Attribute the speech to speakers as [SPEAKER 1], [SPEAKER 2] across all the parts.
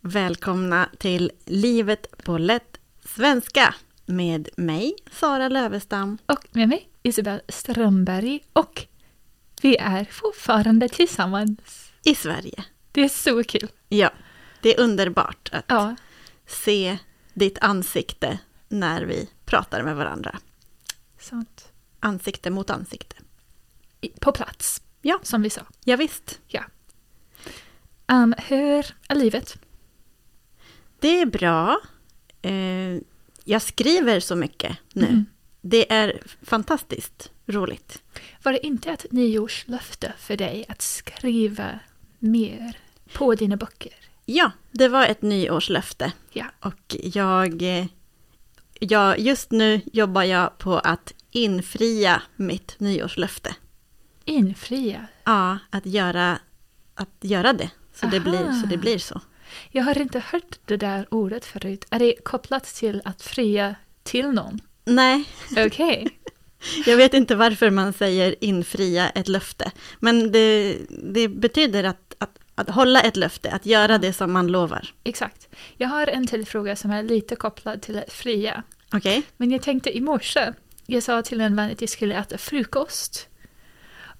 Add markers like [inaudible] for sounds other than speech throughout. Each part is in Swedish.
[SPEAKER 1] välkomna till Livet på lätt svenska med mig, Sara Lövestam.
[SPEAKER 2] Och med mig, Isabel Strömberg. Och vi är fortfarande tillsammans.
[SPEAKER 1] I Sverige.
[SPEAKER 2] Det är så kul.
[SPEAKER 1] Ja, det är underbart att
[SPEAKER 2] Ja,
[SPEAKER 1] se ditt ansikte när vi pratar med varandra.
[SPEAKER 2] sånt.
[SPEAKER 1] Ansikte mot ansikte.
[SPEAKER 2] I- På plats,
[SPEAKER 1] Ja.
[SPEAKER 2] som vi sa.
[SPEAKER 1] Ja, visst.
[SPEAKER 2] Um, hur är livet?
[SPEAKER 1] Det är bra. Eh, Jag skriver så mycket nu.
[SPEAKER 2] Mm.
[SPEAKER 1] Det är fantastiskt roligt.
[SPEAKER 2] Var det inte ett nyårslöfte för dig att skriva mer på dina böcker?
[SPEAKER 1] Ja, det var ett nyårslöfte.
[SPEAKER 2] Ja.
[SPEAKER 1] Och jag, eh, jag... Just nu jobbar jag på att infria mitt nyårslöfte.
[SPEAKER 2] Infria.
[SPEAKER 1] Ja, att göra, att göra det. Så det,
[SPEAKER 2] Aha.
[SPEAKER 1] blir, så det blir så.
[SPEAKER 2] Jag har inte hört det där ordet förut. Är det kopplat till att fria till någon?
[SPEAKER 1] Nej,
[SPEAKER 2] Okej.
[SPEAKER 1] jag vet inte varför man säger infria ett löfte. Men det, det betyder att, att, att hålla ett löfte, att göra det som man lovar.
[SPEAKER 2] Exakt. Jag har en till fråga som är lite kopplad till att fria.
[SPEAKER 1] Okej?
[SPEAKER 2] Men jag tänkte i morse, jag sa till en vän att jag skulle äta frukost.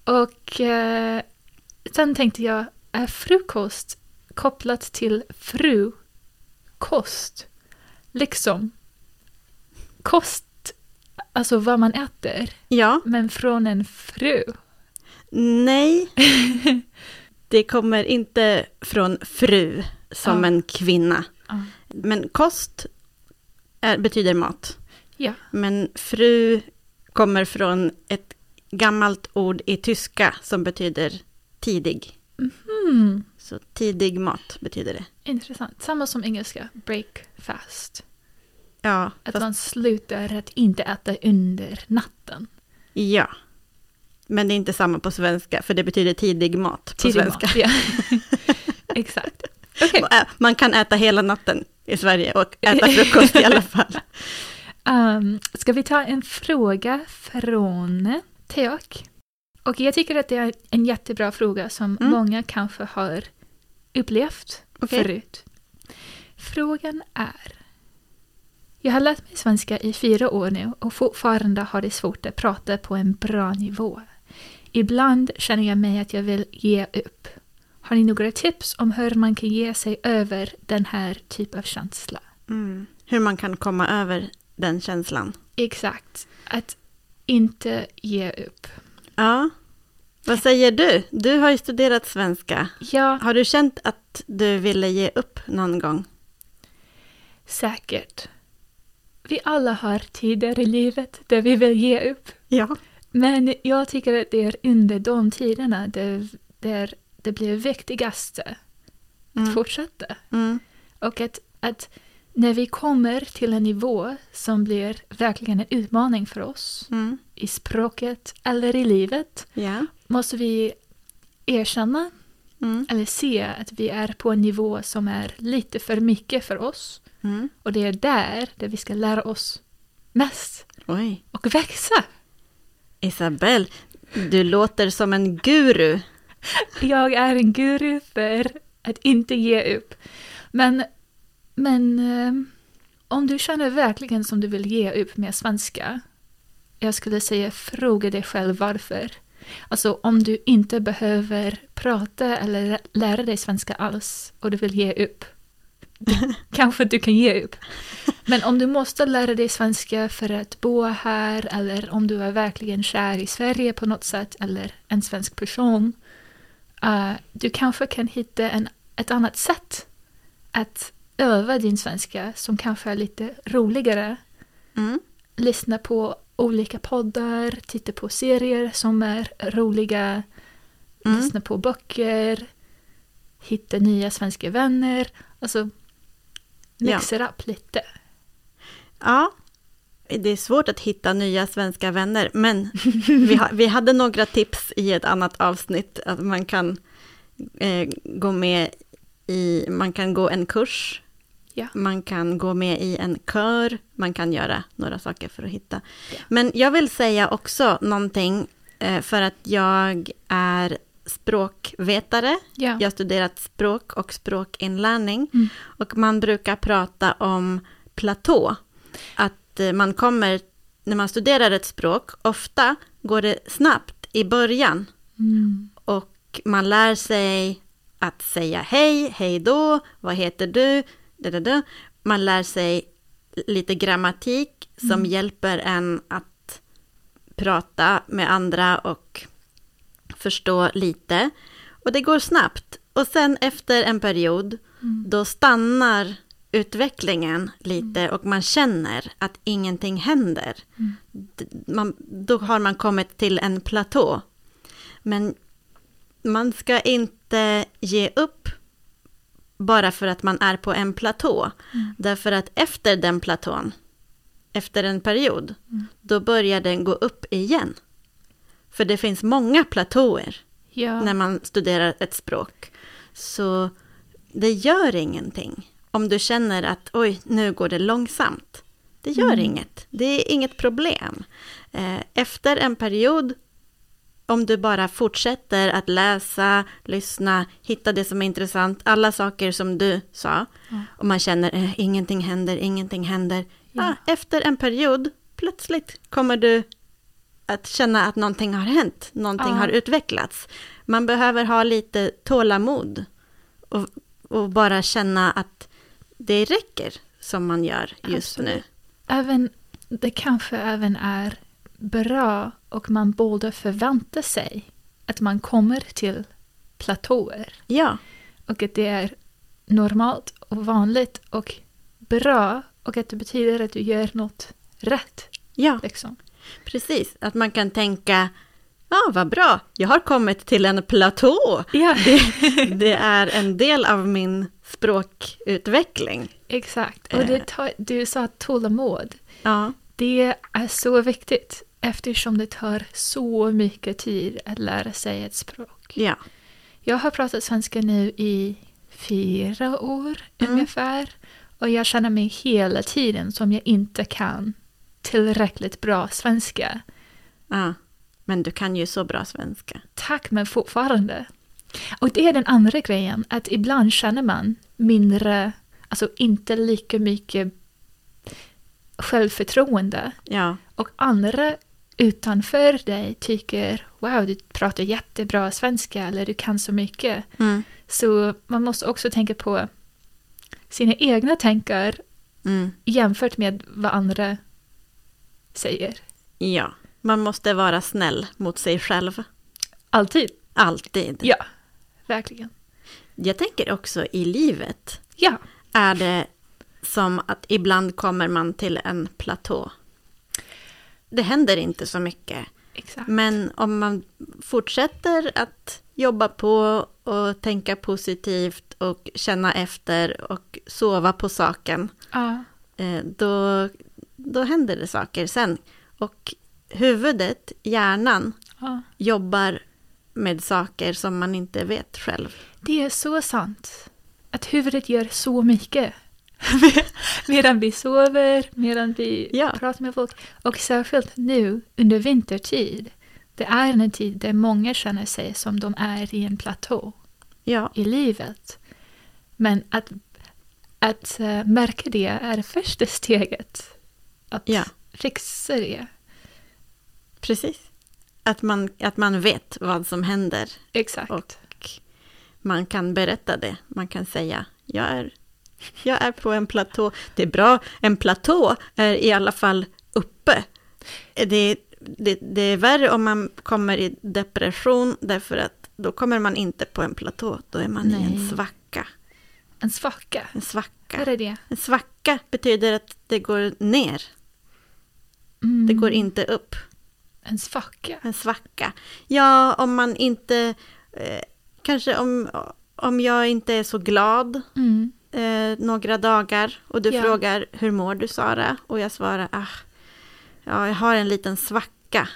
[SPEAKER 2] Och eh, sen tänkte jag, är frukost kopplat till frukost? Liksom kost, alltså vad man äter,
[SPEAKER 1] Ja,
[SPEAKER 2] men från en fru. [laughs]
[SPEAKER 1] nej. det kommer inte från fru som
[SPEAKER 2] Ja.
[SPEAKER 1] en kvinna.
[SPEAKER 2] Ja.
[SPEAKER 1] Men kost är, betyder mat.
[SPEAKER 2] Ja.
[SPEAKER 1] Men fru kommer från ett gammalt ord i tyska som betyder tidig.
[SPEAKER 2] Hmm,
[SPEAKER 1] Så tidig mat betyder det.
[SPEAKER 2] intressant. Samma som engelska, break fast.
[SPEAKER 1] Ja,
[SPEAKER 2] Att
[SPEAKER 1] fast,
[SPEAKER 2] man slutar att inte äta under natten.
[SPEAKER 1] ja. Men det är inte samma på svenska, för det betyder tidig mat på
[SPEAKER 2] Tidig
[SPEAKER 1] svenska.
[SPEAKER 2] mat, Ja. [laughs] Exakt.
[SPEAKER 1] [laughs]
[SPEAKER 2] Okej.
[SPEAKER 1] Och, äh, Man kan äta hela natten i Sverige och
[SPEAKER 2] [laughs]
[SPEAKER 1] äta frukost i alla fall.
[SPEAKER 2] Um, ska vi ta en fråga från Teok? Och jag tycker att det är en jättebra fråga som
[SPEAKER 1] Mm.
[SPEAKER 2] många kanske har upplevt
[SPEAKER 1] Okej.
[SPEAKER 2] förut. Frågan är... Jag har lärt mig svenska i fyra år nu och fortfarande har det svårt att prata på en bra nivå. Ibland känner jag mig att jag vill ge upp. Har ni några tips om hur man kan ge sig över den här typen av känsla?
[SPEAKER 1] Mm. Hur man kan komma över den känslan.
[SPEAKER 2] Exakt. Att inte ge upp.
[SPEAKER 1] Ja. Vad säger du? Du har ju studerat svenska.
[SPEAKER 2] Ja,
[SPEAKER 1] Har du känt att du ville ge upp någon gång?
[SPEAKER 2] säkert. Vi alla har tider i livet där vi vill ge upp.
[SPEAKER 1] Ja.
[SPEAKER 2] Men jag tycker att det är under de tiderna där, där det blir viktigaste att
[SPEAKER 1] Mm.
[SPEAKER 2] fortsätta.
[SPEAKER 1] Mm.
[SPEAKER 2] Och att, att när vi kommer till en nivå som blir verkligen en utmaning för oss
[SPEAKER 1] Mm.
[SPEAKER 2] i språket eller i livet
[SPEAKER 1] Ja.
[SPEAKER 2] måste vi erkänna
[SPEAKER 1] Mm.
[SPEAKER 2] eller se att vi är på en nivå som är lite för mycket för oss.
[SPEAKER 1] Mm.
[SPEAKER 2] Och det är där, där vi ska lära oss mest
[SPEAKER 1] Oj.
[SPEAKER 2] och växa.
[SPEAKER 1] Isabelle, du låter som en guru.
[SPEAKER 2] Jag är en guru för att inte ge upp. Men, men ehm, om du känner verkligen som du vill ge upp med svenska, jag skulle säga fråga dig själv varför. Alltså om du inte behöver prata eller lära dig svenska alls och du vill ge upp, kanske du kan ge upp. Men om du måste lära dig svenska för att bo här eller om du är verkligen kär i Sverige på något sätt eller en svensk person, eh, du kanske kan hitta en, ett annat sätt att öva din svenska som kanske är lite roligare.
[SPEAKER 1] Mm.
[SPEAKER 2] Lyssna på olika poddar, titta på serier som är roliga,
[SPEAKER 1] Mm.
[SPEAKER 2] lyssna på böcker, hitta nya svenska vänner. Alltså,
[SPEAKER 1] Ja.
[SPEAKER 2] mixa upp lite.
[SPEAKER 1] Ja. Det är svårt att hitta nya svenska vänner, men [laughs] vi, ha, vi hade några tips i ett annat avsnitt. Att man kan eh, gå med i, man kan gå en kurs,
[SPEAKER 2] Ja.
[SPEAKER 1] man kan gå med i en kör, man kan göra några saker för att hitta.
[SPEAKER 2] Ja.
[SPEAKER 1] Men jag vill säga också någonting, eh, för att jag är språkvetare.
[SPEAKER 2] Ja.
[SPEAKER 1] Jag har studerat språk och språkinlärning.
[SPEAKER 2] Mm.
[SPEAKER 1] Och man brukar prata om platå. Att eh, man kommer, när man studerar ett språk, ofta går det snabbt i början.
[SPEAKER 2] Mm.
[SPEAKER 1] Och man lär sig att säga hej, hej då, vad heter du, da, da, da. Man lär sig lite grammatik som hjälper en att prata med andra och förstå lite. Och det går snabbt. Och sen efter en period,
[SPEAKER 2] Mm.
[SPEAKER 1] då stannar utvecklingen lite och man känner att ingenting händer. D- Man, då har man kommit till en platå. Men man ska inte ge upp bara för att man är på en platå. Därför att efter den platån, efter en period, då börjar den gå upp igen. För det finns många platåer
[SPEAKER 2] Ja.
[SPEAKER 1] när man studerar ett språk. Så det gör ingenting om du känner att oj, nu går det långsamt. Det gör inget, det är inget problem. Eh, Efter en period, om du bara fortsätter att läsa, lyssna, hitta det som är intressant, alla saker som du sa, och man känner eh, ingenting händer, ingenting händer. Ja. Ah,
[SPEAKER 2] Mm.
[SPEAKER 1] efter en period, plötsligt kommer du att känna att någonting har hänt, någonting
[SPEAKER 2] Ja.
[SPEAKER 1] har utvecklats. Man behöver ha lite tålamod och, och bara känna att det räcker som man gör just
[SPEAKER 2] Absolut.
[SPEAKER 1] nu.
[SPEAKER 2] Även, det kanske även är bra och man borde förvänta sig att man kommer till platåer
[SPEAKER 1] Ja,
[SPEAKER 2] och att det är normalt och vanligt och bra och att det betyder att du gör något rätt.
[SPEAKER 1] ja,
[SPEAKER 2] Liksom.
[SPEAKER 1] precis. Att man kan tänka, ja vad bra, jag har kommit till en platå. [laughs]
[SPEAKER 2] Ja,
[SPEAKER 1] Det är en del av min språkutveckling.
[SPEAKER 2] exakt. Eh, Och det tar, du sa tålamod.
[SPEAKER 1] Ja,
[SPEAKER 2] Det är så viktigt eftersom det tar så mycket tid att lära sig ett språk.
[SPEAKER 1] ja,
[SPEAKER 2] Jag har pratat svenska nu i fyra år ungefär. Och jag känner mig hela tiden som jag inte kan tillräckligt bra svenska.
[SPEAKER 1] ja. Men du kan ju så bra svenska.
[SPEAKER 2] Tack men fortfarande. Och det är den andra grejen, att ibland känner man mindre, alltså inte lika mycket självförtroende.
[SPEAKER 1] Ja,
[SPEAKER 2] Och andra utanför dig tycker wow, du pratar jättebra svenska eller du kan så mycket.
[SPEAKER 1] mm.
[SPEAKER 2] Så man måste också tänka på sina egna tankar
[SPEAKER 1] Mm.
[SPEAKER 2] jämfört med vad andra säger.
[SPEAKER 1] ja. Man måste vara snäll mot sig själv,
[SPEAKER 2] Alltid.
[SPEAKER 1] alltid.
[SPEAKER 2] Ja, verkligen.
[SPEAKER 1] Jag tänker också i livet
[SPEAKER 2] Ja,
[SPEAKER 1] är det som att ibland kommer man till en platå. Det händer inte så mycket,
[SPEAKER 2] exakt.
[SPEAKER 1] men om man fortsätter att jobba på och tänka positivt och känna efter och sova på saken,
[SPEAKER 2] Ja,
[SPEAKER 1] eh, då, då händer det saker sen. Och huvudet, hjärnan,
[SPEAKER 2] ja.
[SPEAKER 1] jobbar med saker som man inte vet själv.
[SPEAKER 2] Det är så sant. Att huvudet gör så mycket. [laughs] medan vi sover, medan vi
[SPEAKER 1] Ja.
[SPEAKER 2] pratar med folk. Och särskilt nu under vintertid. Det är en tid där många känner sig som de är i en platå
[SPEAKER 1] Ja,
[SPEAKER 2] i livet. Men att, att eh, märka det är första steget. Att
[SPEAKER 1] Ja.
[SPEAKER 2] fixa det.
[SPEAKER 1] precis. Att man, att man vet vad som händer
[SPEAKER 2] Exakt.
[SPEAKER 1] Och- man kan berätta det. Man kan säga, jag är, jag är på en platå. Det är bra, en platå är i alla fall uppe. Det, det, det är värre om man kommer i depression, därför att då kommer man inte på en platå, då är man i en
[SPEAKER 2] Nej.
[SPEAKER 1] svacka.
[SPEAKER 2] En svacka.
[SPEAKER 1] En svacka.
[SPEAKER 2] Vad är det?
[SPEAKER 1] En svacka betyder att det går ner,
[SPEAKER 2] Mm.
[SPEAKER 1] det går inte upp.
[SPEAKER 2] En svacka.
[SPEAKER 1] En svacka. Ja, om man inte... Eh, kanske om, om jag inte är så glad
[SPEAKER 2] Mm.
[SPEAKER 1] eh, några dagar och du
[SPEAKER 2] Ja.
[SPEAKER 1] frågar hur mår du Sara? Och jag svarar ah, ja, jag har en liten svacka.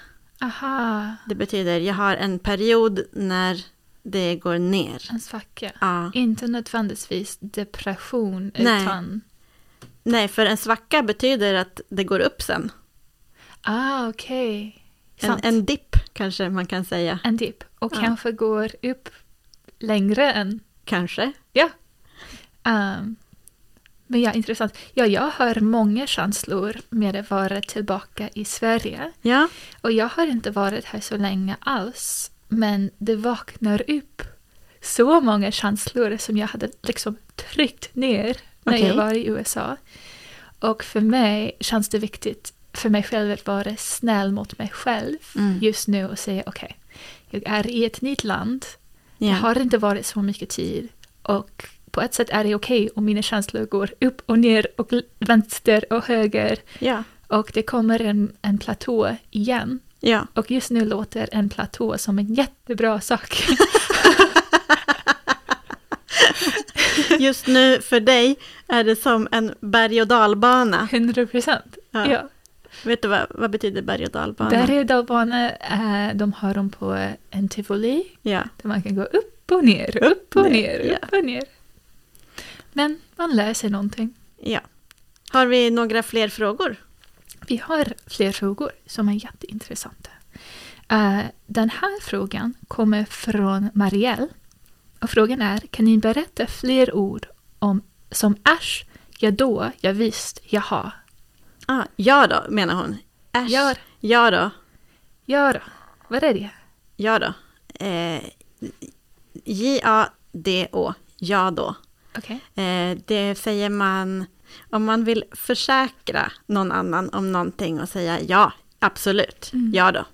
[SPEAKER 2] Aha.
[SPEAKER 1] Det betyder jag har en period när det går ner.
[SPEAKER 2] En svacka.
[SPEAKER 1] Ja.
[SPEAKER 2] Inte nödvändigtvis depression
[SPEAKER 1] Nej.
[SPEAKER 2] utan...
[SPEAKER 1] Nej, för en svacka betyder att det går upp sen.
[SPEAKER 2] Ah, okej.
[SPEAKER 1] En,
[SPEAKER 2] Sant.
[SPEAKER 1] en dipp kanske man kan säga.
[SPEAKER 2] en dipp. och
[SPEAKER 1] Ja.
[SPEAKER 2] kanske går upp längre än...
[SPEAKER 1] Kanske.
[SPEAKER 2] ehm, men ja, intressant. Ja, jag har många känslor med att vara tillbaka i Sverige.
[SPEAKER 1] Ja,
[SPEAKER 2] Och jag har inte varit här så länge alls. Men det vaknar upp så många känslor som jag hade liksom tryckt ner när jag
[SPEAKER 1] Okej.
[SPEAKER 2] var i USA. Och för mig känns det viktigt för mig själv att vara snäll mot mig själv
[SPEAKER 1] Mm.
[SPEAKER 2] just nu och säga okej, jag är i ett nytt land,
[SPEAKER 1] ja.
[SPEAKER 2] jag har inte varit så mycket tid och på ett sätt är det okej om mina känslor går upp och ner och l- vänster och höger
[SPEAKER 1] ja.
[SPEAKER 2] och det kommer en, en platå igen.
[SPEAKER 1] ja.
[SPEAKER 2] Och just nu låter en platå som en jättebra sak.
[SPEAKER 1] Just nu för dig är det som en berg och
[SPEAKER 2] [laughs]
[SPEAKER 1] dalbana.
[SPEAKER 2] 100 procent.
[SPEAKER 1] Ja.
[SPEAKER 2] Ja.
[SPEAKER 1] Vet du vad, vad betyder berg och dalbana?
[SPEAKER 2] Berg och dalbana, eh, de har dem på en tivoli
[SPEAKER 1] Ja,
[SPEAKER 2] där man kan gå upp och ner, upp och
[SPEAKER 1] ner,
[SPEAKER 2] ner,
[SPEAKER 1] ja.
[SPEAKER 2] upp och ner. Men man lär sig någonting.
[SPEAKER 1] ja. Har vi några fler frågor?
[SPEAKER 2] Vi har fler frågor som är jätteintressanta. Eh, Den här frågan kommer från Marielle. Och frågan är, kan ni berätta fler ord om, som äsch, ja då, ja visst, jaha,
[SPEAKER 1] Ah, ja då, menar hon. Äsch.
[SPEAKER 2] Ja.
[SPEAKER 1] ja då.
[SPEAKER 2] ja då. Vad är det?
[SPEAKER 1] Ja då. Eh, J-A-D-Å. Ja då.
[SPEAKER 2] Okej.
[SPEAKER 1] Eh, det säger man om man vill försäkra någon annan om någonting och säga ja, absolut,
[SPEAKER 2] Mm.
[SPEAKER 1] ja då.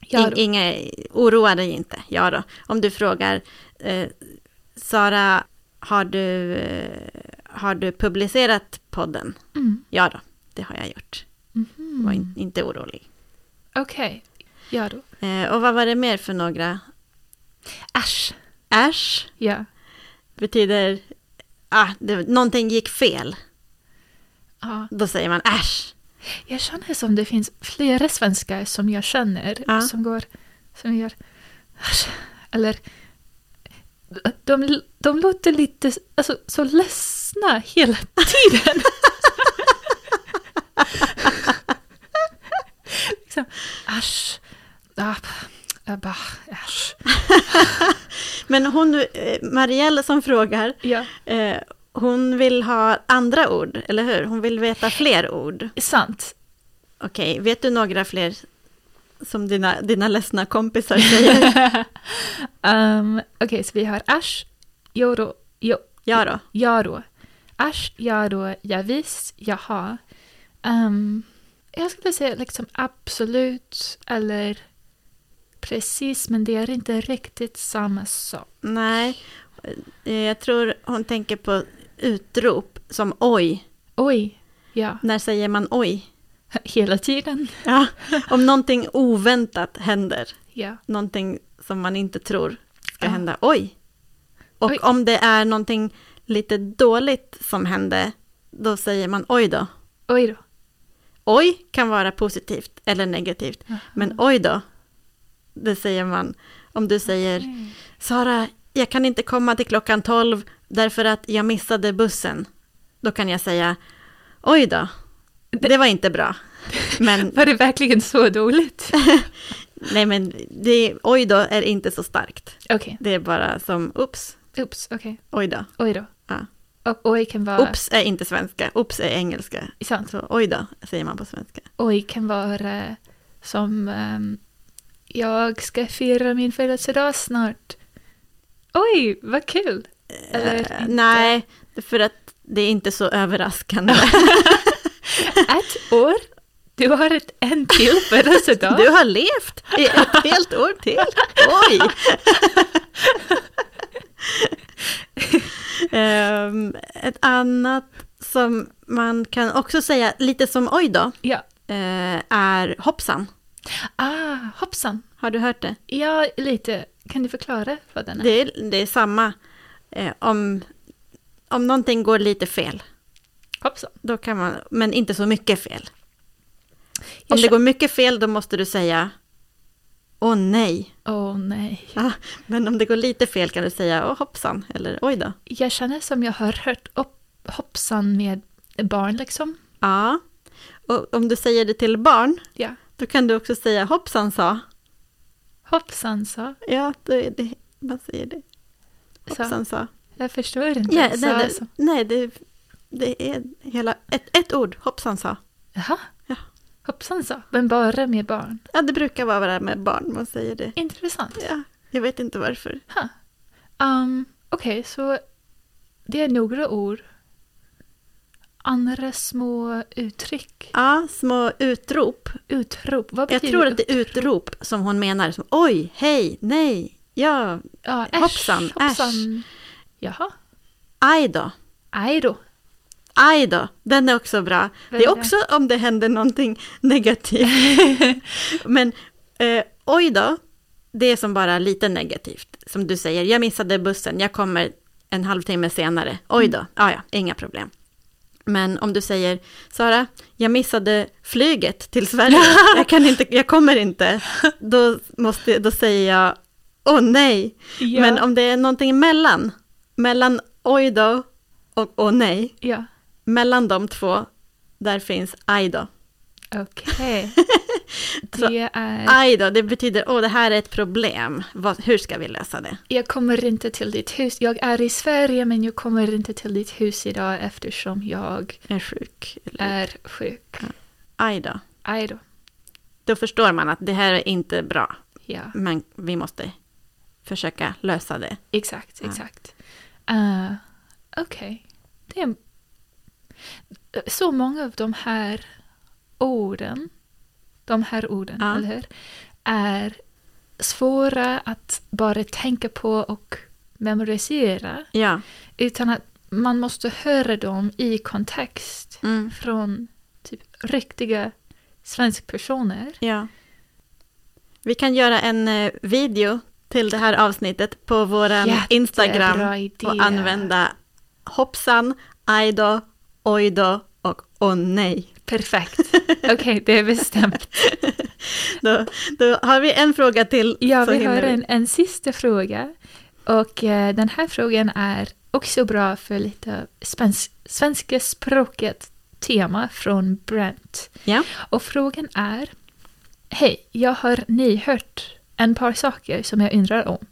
[SPEAKER 2] Ja
[SPEAKER 1] In,
[SPEAKER 2] då.
[SPEAKER 1] inga, oroa dig inte, ja då. Om du frågar eh, Sara, har du, eh, har du publicerat podden?
[SPEAKER 2] Mm.
[SPEAKER 1] Ja då, det har jag gjort.
[SPEAKER 2] Mhm.
[SPEAKER 1] Var in, inte orolig.
[SPEAKER 2] Okej. Ja då.
[SPEAKER 1] Eh, och vad var det mer för några?
[SPEAKER 2] Äsch.
[SPEAKER 1] Äsch
[SPEAKER 2] Ja.
[SPEAKER 1] betyder, ah, det, någonting gick fel.
[SPEAKER 2] ja.
[SPEAKER 1] Då säger man äsch.
[SPEAKER 2] Jag känner som det finns flera svenskar som jag känner
[SPEAKER 1] Ja.
[SPEAKER 2] som går, som gör äsch. Eller de, de låter lite alltså, så ledsna hela tiden. liksom, äsch. Ah, p- ah, bah, äsch.
[SPEAKER 1] Men hon, eh, Marielle som frågar,
[SPEAKER 2] Ja.
[SPEAKER 1] Eh, hon vill ha andra ord, eller hur? Hon vill veta fler ord.
[SPEAKER 2] Sant.
[SPEAKER 1] Okej, vet du några fler som dina, dina ledsna kompisar
[SPEAKER 2] [laughs]
[SPEAKER 1] säger?
[SPEAKER 2] Um, Okej, så vi har äsch, jodå, jo,
[SPEAKER 1] ja då.
[SPEAKER 2] jadå. Äsch, jadå, javisst, jaha. Um, jag skulle säga liksom absolut eller precis, men det är inte riktigt samma sak.
[SPEAKER 1] Nej, eh, jag tror hon tänker på utrop som oj.
[SPEAKER 2] Oj, ja,
[SPEAKER 1] När säger man oj?
[SPEAKER 2] [laughs] hela tiden.
[SPEAKER 1] Ja, [laughs] om någonting oväntat händer,
[SPEAKER 2] Ja,
[SPEAKER 1] någonting som man inte tror ska
[SPEAKER 2] Ja.
[SPEAKER 1] hända, oj. Och
[SPEAKER 2] Oj.
[SPEAKER 1] om det är någonting lite dåligt som hände, då säger man oj då.
[SPEAKER 2] oj då.
[SPEAKER 1] Oj kan vara positivt eller negativt,
[SPEAKER 2] Jaha.
[SPEAKER 1] men oj då, det säger man. Om du säger
[SPEAKER 2] Mm.
[SPEAKER 1] Sara, jag kan inte komma till klockan 12 därför att jag missade bussen. Då kan jag säga oj då, det var inte bra.
[SPEAKER 2] [laughs]
[SPEAKER 1] Men,
[SPEAKER 2] Var det verkligen så dåligt?
[SPEAKER 1] nej men det, oj då är inte så starkt.
[SPEAKER 2] [laughs] Okej,
[SPEAKER 1] Det är bara som ups,
[SPEAKER 2] oops, okej,
[SPEAKER 1] oj då.
[SPEAKER 2] oj då.
[SPEAKER 1] Ja.
[SPEAKER 2] Och oj kan vara,
[SPEAKER 1] Ups är inte svenska, ups är engelska.
[SPEAKER 2] sant.
[SPEAKER 1] Så oj då säger man på svenska.
[SPEAKER 2] Oj kan vara som ehm, jag ska fira min födelsedag snart. Oj, vad kul! Eller
[SPEAKER 1] Eh,
[SPEAKER 2] inte.
[SPEAKER 1] nej, för att det är inte så överraskande. [laughs]
[SPEAKER 2] Ett år, du har ett en till
[SPEAKER 1] [laughs]
[SPEAKER 2] födelsedag.
[SPEAKER 1] Du har levt i ett helt år till. Oj!
[SPEAKER 2] [laughs]
[SPEAKER 1] Ehm, ett annat som man kan också säga, lite som oj då,
[SPEAKER 2] Ja,
[SPEAKER 1] eh, är hoppsan.
[SPEAKER 2] ah, hoppsan.
[SPEAKER 1] Har du hört det?
[SPEAKER 2] Ja, lite. Kan du förklara vad den är?
[SPEAKER 1] Det är, det är samma eh, om, om någonting går lite fel.
[SPEAKER 2] Hoppsan.
[SPEAKER 1] Då kan man, men inte så mycket fel.
[SPEAKER 2] Jag
[SPEAKER 1] Om det
[SPEAKER 2] kö-
[SPEAKER 1] går mycket fel då måste du säga åh nej.
[SPEAKER 2] Åh nej.
[SPEAKER 1] Ja, men om det går lite fel kan du säga åh hoppsan eller oj då.
[SPEAKER 2] Jag känner som jag har hört upp, hoppsan med barn liksom.
[SPEAKER 1] Ja, och om du säger det till barn,
[SPEAKER 2] Ja.
[SPEAKER 1] då kan du också säga hoppsan sa.
[SPEAKER 2] Hoppsan så.
[SPEAKER 1] Ja, det är det, man säger det. Hoppsan sa.
[SPEAKER 2] Jag förstår inte.
[SPEAKER 1] Ja,
[SPEAKER 2] så,
[SPEAKER 1] nej,
[SPEAKER 2] så.
[SPEAKER 1] det, nej det, det är hela, ett, ett ord, hoppsan sa.
[SPEAKER 2] Jaha.
[SPEAKER 1] Ja.
[SPEAKER 2] Hoppsan så. Men bara med barn.
[SPEAKER 1] Ja, det brukar vara det här med barn, man säger det.
[SPEAKER 2] Intressant.
[SPEAKER 1] Ja, jag vet inte varför.
[SPEAKER 2] Um, Okej, så det är några ord. Andra små uttryck.
[SPEAKER 1] Ja, små utrop.
[SPEAKER 2] Utrop. Vad
[SPEAKER 1] Jag
[SPEAKER 2] betyder
[SPEAKER 1] tror att det är utrop som hon menar, som oj, hej, nej, ja,
[SPEAKER 2] Ja, äsch,
[SPEAKER 1] Hoppsan, äsch.
[SPEAKER 2] hoppsan. Jaha.
[SPEAKER 1] aj då,
[SPEAKER 2] Aj då.
[SPEAKER 1] aj då. Den är också bra. Det är
[SPEAKER 2] Väldigt.
[SPEAKER 1] också om det händer någonting [laughs] negativt. Men eh, oj då, det är som bara lite negativt. Som du säger, jag missade bussen, jag kommer en halvtimme senare. Oj då, Ah, ja, ja, inga problem. Men om du säger, Sara, jag missade flyget till Sverige, jag, kan inte, jag kommer inte, då, måste, då säger jag, åh nej,
[SPEAKER 2] Ja.
[SPEAKER 1] Men om det är någonting emellan, mellan oj då och åh nej,
[SPEAKER 2] ja.
[SPEAKER 1] mellan de två, där finns aj då.
[SPEAKER 2] Okej.
[SPEAKER 1] [laughs] Så, Ah.
[SPEAKER 2] Det är...
[SPEAKER 1] Aj då, det betyder åh det här är ett problem, Vad, hur ska vi lösa det?
[SPEAKER 2] Jag kommer inte till ditt hus. Jag är i Sverige men jag kommer inte till ditt hus idag eftersom jag
[SPEAKER 1] Jag är sjuk. Eller,
[SPEAKER 2] är sjuk.
[SPEAKER 1] Aj då.
[SPEAKER 2] Aj då.
[SPEAKER 1] Då förstår man att det här är inte bra,
[SPEAKER 2] Ja,
[SPEAKER 1] men vi måste försöka lösa det.
[SPEAKER 2] exakt,
[SPEAKER 1] Ja.
[SPEAKER 2] exakt. Eh, Okej. Det är... Så många av de här orden, de här orden,
[SPEAKER 1] Ja.
[SPEAKER 2] eller hur, är svåra att bara tänka på och memorisera.
[SPEAKER 1] Ja,
[SPEAKER 2] Utan att man måste höra dem i kontext
[SPEAKER 1] mm,
[SPEAKER 2] från typ riktiga svenska personer.
[SPEAKER 1] ja. Vi kan göra en eh, video till det här avsnittet på vår Instagram.
[SPEAKER 2] Jättebra idé.
[SPEAKER 1] och använda hoppsan, aj då, oj då och åh nej.
[SPEAKER 2] Perfekt. Okej, det är bestämt.
[SPEAKER 1] Då, då har vi en fråga till.
[SPEAKER 2] Ja,
[SPEAKER 1] så
[SPEAKER 2] vi
[SPEAKER 1] hinner
[SPEAKER 2] har en, en sista fråga. Och eh, den här frågan är också bra för lite spens- svenska språket tema från Brent.
[SPEAKER 1] Ja.
[SPEAKER 2] Och frågan är Hej, jag har nyhört en par saker som jag undrar om.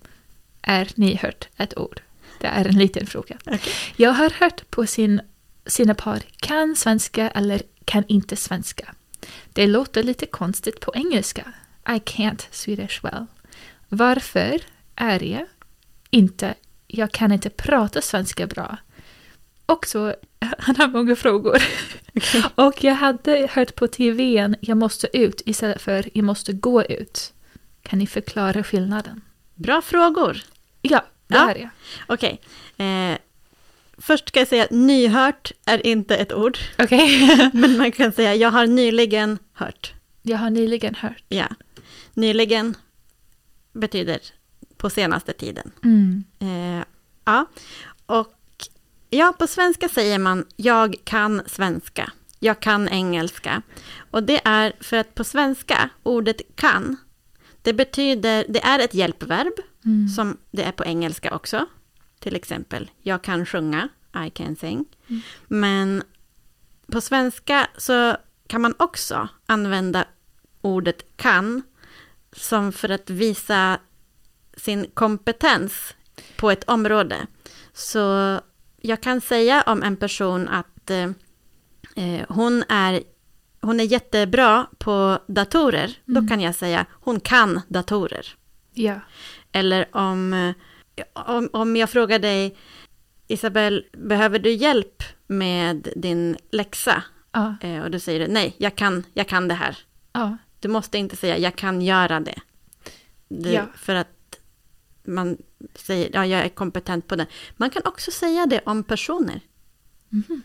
[SPEAKER 2] Är nyhört ett ord? Det är en liten fråga.
[SPEAKER 1] Okej.
[SPEAKER 2] Jag har hört på sin, sina par kan svenska eller kan inte svenska. Det låter lite konstigt på engelska. I can't Swedish well. Varför är jag inte, jag kan inte prata svenska bra. Och så, [laughs] han har många frågor. [laughs] Och jag hade hört på tvn, jag måste ut istället för jag måste gå ut. Kan ni förklara skillnaden?
[SPEAKER 1] Bra frågor.
[SPEAKER 2] Ja, det
[SPEAKER 1] Ja.
[SPEAKER 2] här är jag.
[SPEAKER 1] Okej. Eh, först ska jag säga att nyhört är inte ett ord, [laughs]
[SPEAKER 2] Okej. [laughs]
[SPEAKER 1] men man kan säga jag har nyligen hört.
[SPEAKER 2] jag har nyligen hört.
[SPEAKER 1] Ja. Nyligen betyder på senaste tiden.
[SPEAKER 2] Mm.
[SPEAKER 1] Eh, ja. Och ja, på svenska säger man jag kan svenska. Jag kan engelska. Och det är för att på svenska, ordet kan, det betyder, det är ett hjälpverb,
[SPEAKER 2] Mm.
[SPEAKER 1] som det är på engelska också. Till exempel, jag kan sjunga, I can sing.
[SPEAKER 2] Mm.
[SPEAKER 1] Men på svenska så kan man också använda ordet kan som för att visa sin kompetens på ett område. Så jag kan säga om en person att eh, eh, hon, är, hon är jättebra på datorer. Då
[SPEAKER 2] Mm.
[SPEAKER 1] kan jag säga hon kan datorer.
[SPEAKER 2] Ja.
[SPEAKER 1] Eller om, eh, om, om jag frågar dig, Isabel, behöver du hjälp med din läxa?
[SPEAKER 2] Ja.
[SPEAKER 1] Eh, Och du säger du, nej, jag kan, jag kan det här.
[SPEAKER 2] ja.
[SPEAKER 1] Du måste inte säga, jag kan göra det. Du,
[SPEAKER 2] Ja.
[SPEAKER 1] För att man säger, ja, jag är kompetent på det. Man kan också säga det om personer.
[SPEAKER 2] Mhm.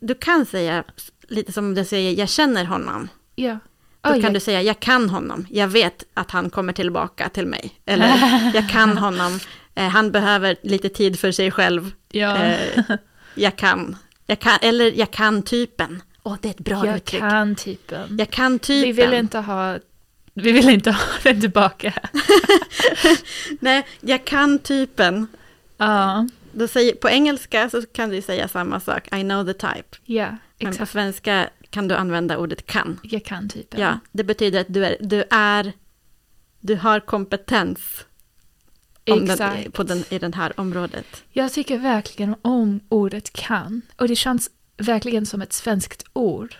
[SPEAKER 1] Du kan säga, lite som du säger, jag känner honom.
[SPEAKER 2] Ja.
[SPEAKER 1] Då kan
[SPEAKER 2] Oj, jag-
[SPEAKER 1] du säga, jag kan honom, jag vet att han kommer tillbaka till mig.
[SPEAKER 2] [laughs]
[SPEAKER 1] Eller, jag kan honom, eh, han behöver lite tid för sig själv.
[SPEAKER 2] ja.
[SPEAKER 1] Eh, jag, kan. jag kan, eller jag kan typen. Åh, det är ett bra
[SPEAKER 2] Jag
[SPEAKER 1] uttryck.
[SPEAKER 2] kan typen.
[SPEAKER 1] Jag kan typen.
[SPEAKER 2] Vi vill inte ha vi vill inte ha [laughs] den tillbaka.
[SPEAKER 1] Nej, jag kan typen.
[SPEAKER 2] Ja,
[SPEAKER 1] Då säger, på engelska så kan du säga samma sak, I know the type.
[SPEAKER 2] ja,
[SPEAKER 1] Men på
[SPEAKER 2] exakt.
[SPEAKER 1] svenska kan du använda ordet kan.
[SPEAKER 2] Jag kan typen.
[SPEAKER 1] Ja, det betyder att du är, du är du har kompetens om den, på den, i det här området.
[SPEAKER 2] Jag tycker verkligen om ordet kan. Och det känns verkligen som ett svenskt ord.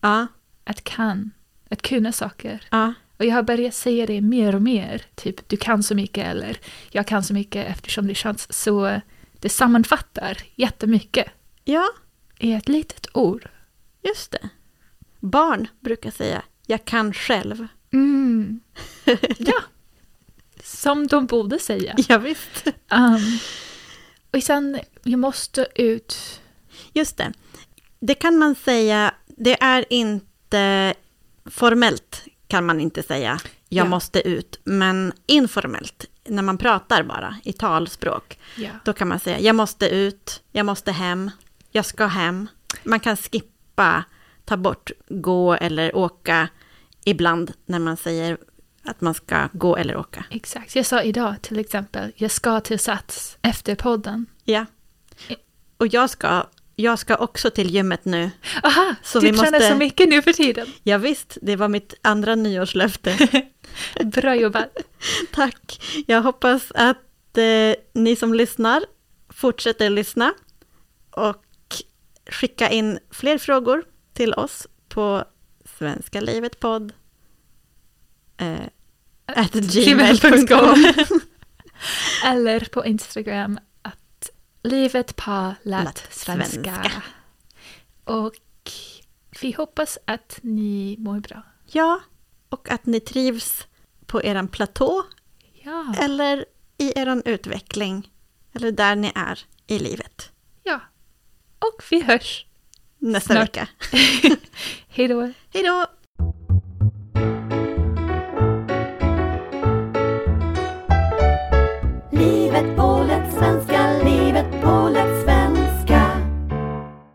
[SPEAKER 1] Ja,
[SPEAKER 2] Att kan. Att kunna saker.
[SPEAKER 1] ja,
[SPEAKER 2] Och jag har börjat säga det mer och mer. Typ, du kan så mycket eller jag kan så mycket eftersom det känns så... Det sammanfattar jättemycket
[SPEAKER 1] ja,
[SPEAKER 2] i ett litet ord.
[SPEAKER 1] just det. Barn brukar säga, jag kan själv. [laughs]
[SPEAKER 2] Mm. Ja. Som de borde säga.
[SPEAKER 1] Ja, visst.
[SPEAKER 2] Um, och sen, jag måste ut...
[SPEAKER 1] [laughs] Just det. Det kan man säga, det är inte formellt kan man inte säga jag
[SPEAKER 2] Ja.
[SPEAKER 1] måste ut, men informellt, när man pratar bara i talspråk,
[SPEAKER 2] Ja.
[SPEAKER 1] då kan man säga jag måste ut, jag måste hem, jag ska hem. Man kan skippa, ta bort gå eller åka ibland när man säger att man ska gå eller åka.
[SPEAKER 2] Exakt. Jag sa idag till exempel, jag ska till Sats efter podden.
[SPEAKER 1] Ja. Och jag ska, jag ska också till gymmet nu.
[SPEAKER 2] Aha,
[SPEAKER 1] Så
[SPEAKER 2] du
[SPEAKER 1] vi
[SPEAKER 2] tränar
[SPEAKER 1] måste-
[SPEAKER 2] så mycket nu för tiden.
[SPEAKER 1] Ja, visst, det var mitt andra nyårslöfte.
[SPEAKER 2] Bra jobbat.
[SPEAKER 1] Tack. Jag hoppas att eh, ni som lyssnar fortsätter lyssna och skicka in fler frågor till oss på Svenska livet podd eh, at gmail.com.
[SPEAKER 2] Eller på Instagram att livet på lät
[SPEAKER 1] Lät
[SPEAKER 2] svenska.
[SPEAKER 1] svenska.
[SPEAKER 2] Och vi hoppas att ni mår bra.
[SPEAKER 1] Ja, och att ni trivs på er platå
[SPEAKER 2] Ja,
[SPEAKER 1] eller i er utveckling eller där ni är i livet
[SPEAKER 2] ja. Och vi hörs. [laughs]
[SPEAKER 1] nästa
[SPEAKER 2] Snart.
[SPEAKER 1] vecka.
[SPEAKER 2] Hej då.
[SPEAKER 1] Hej då!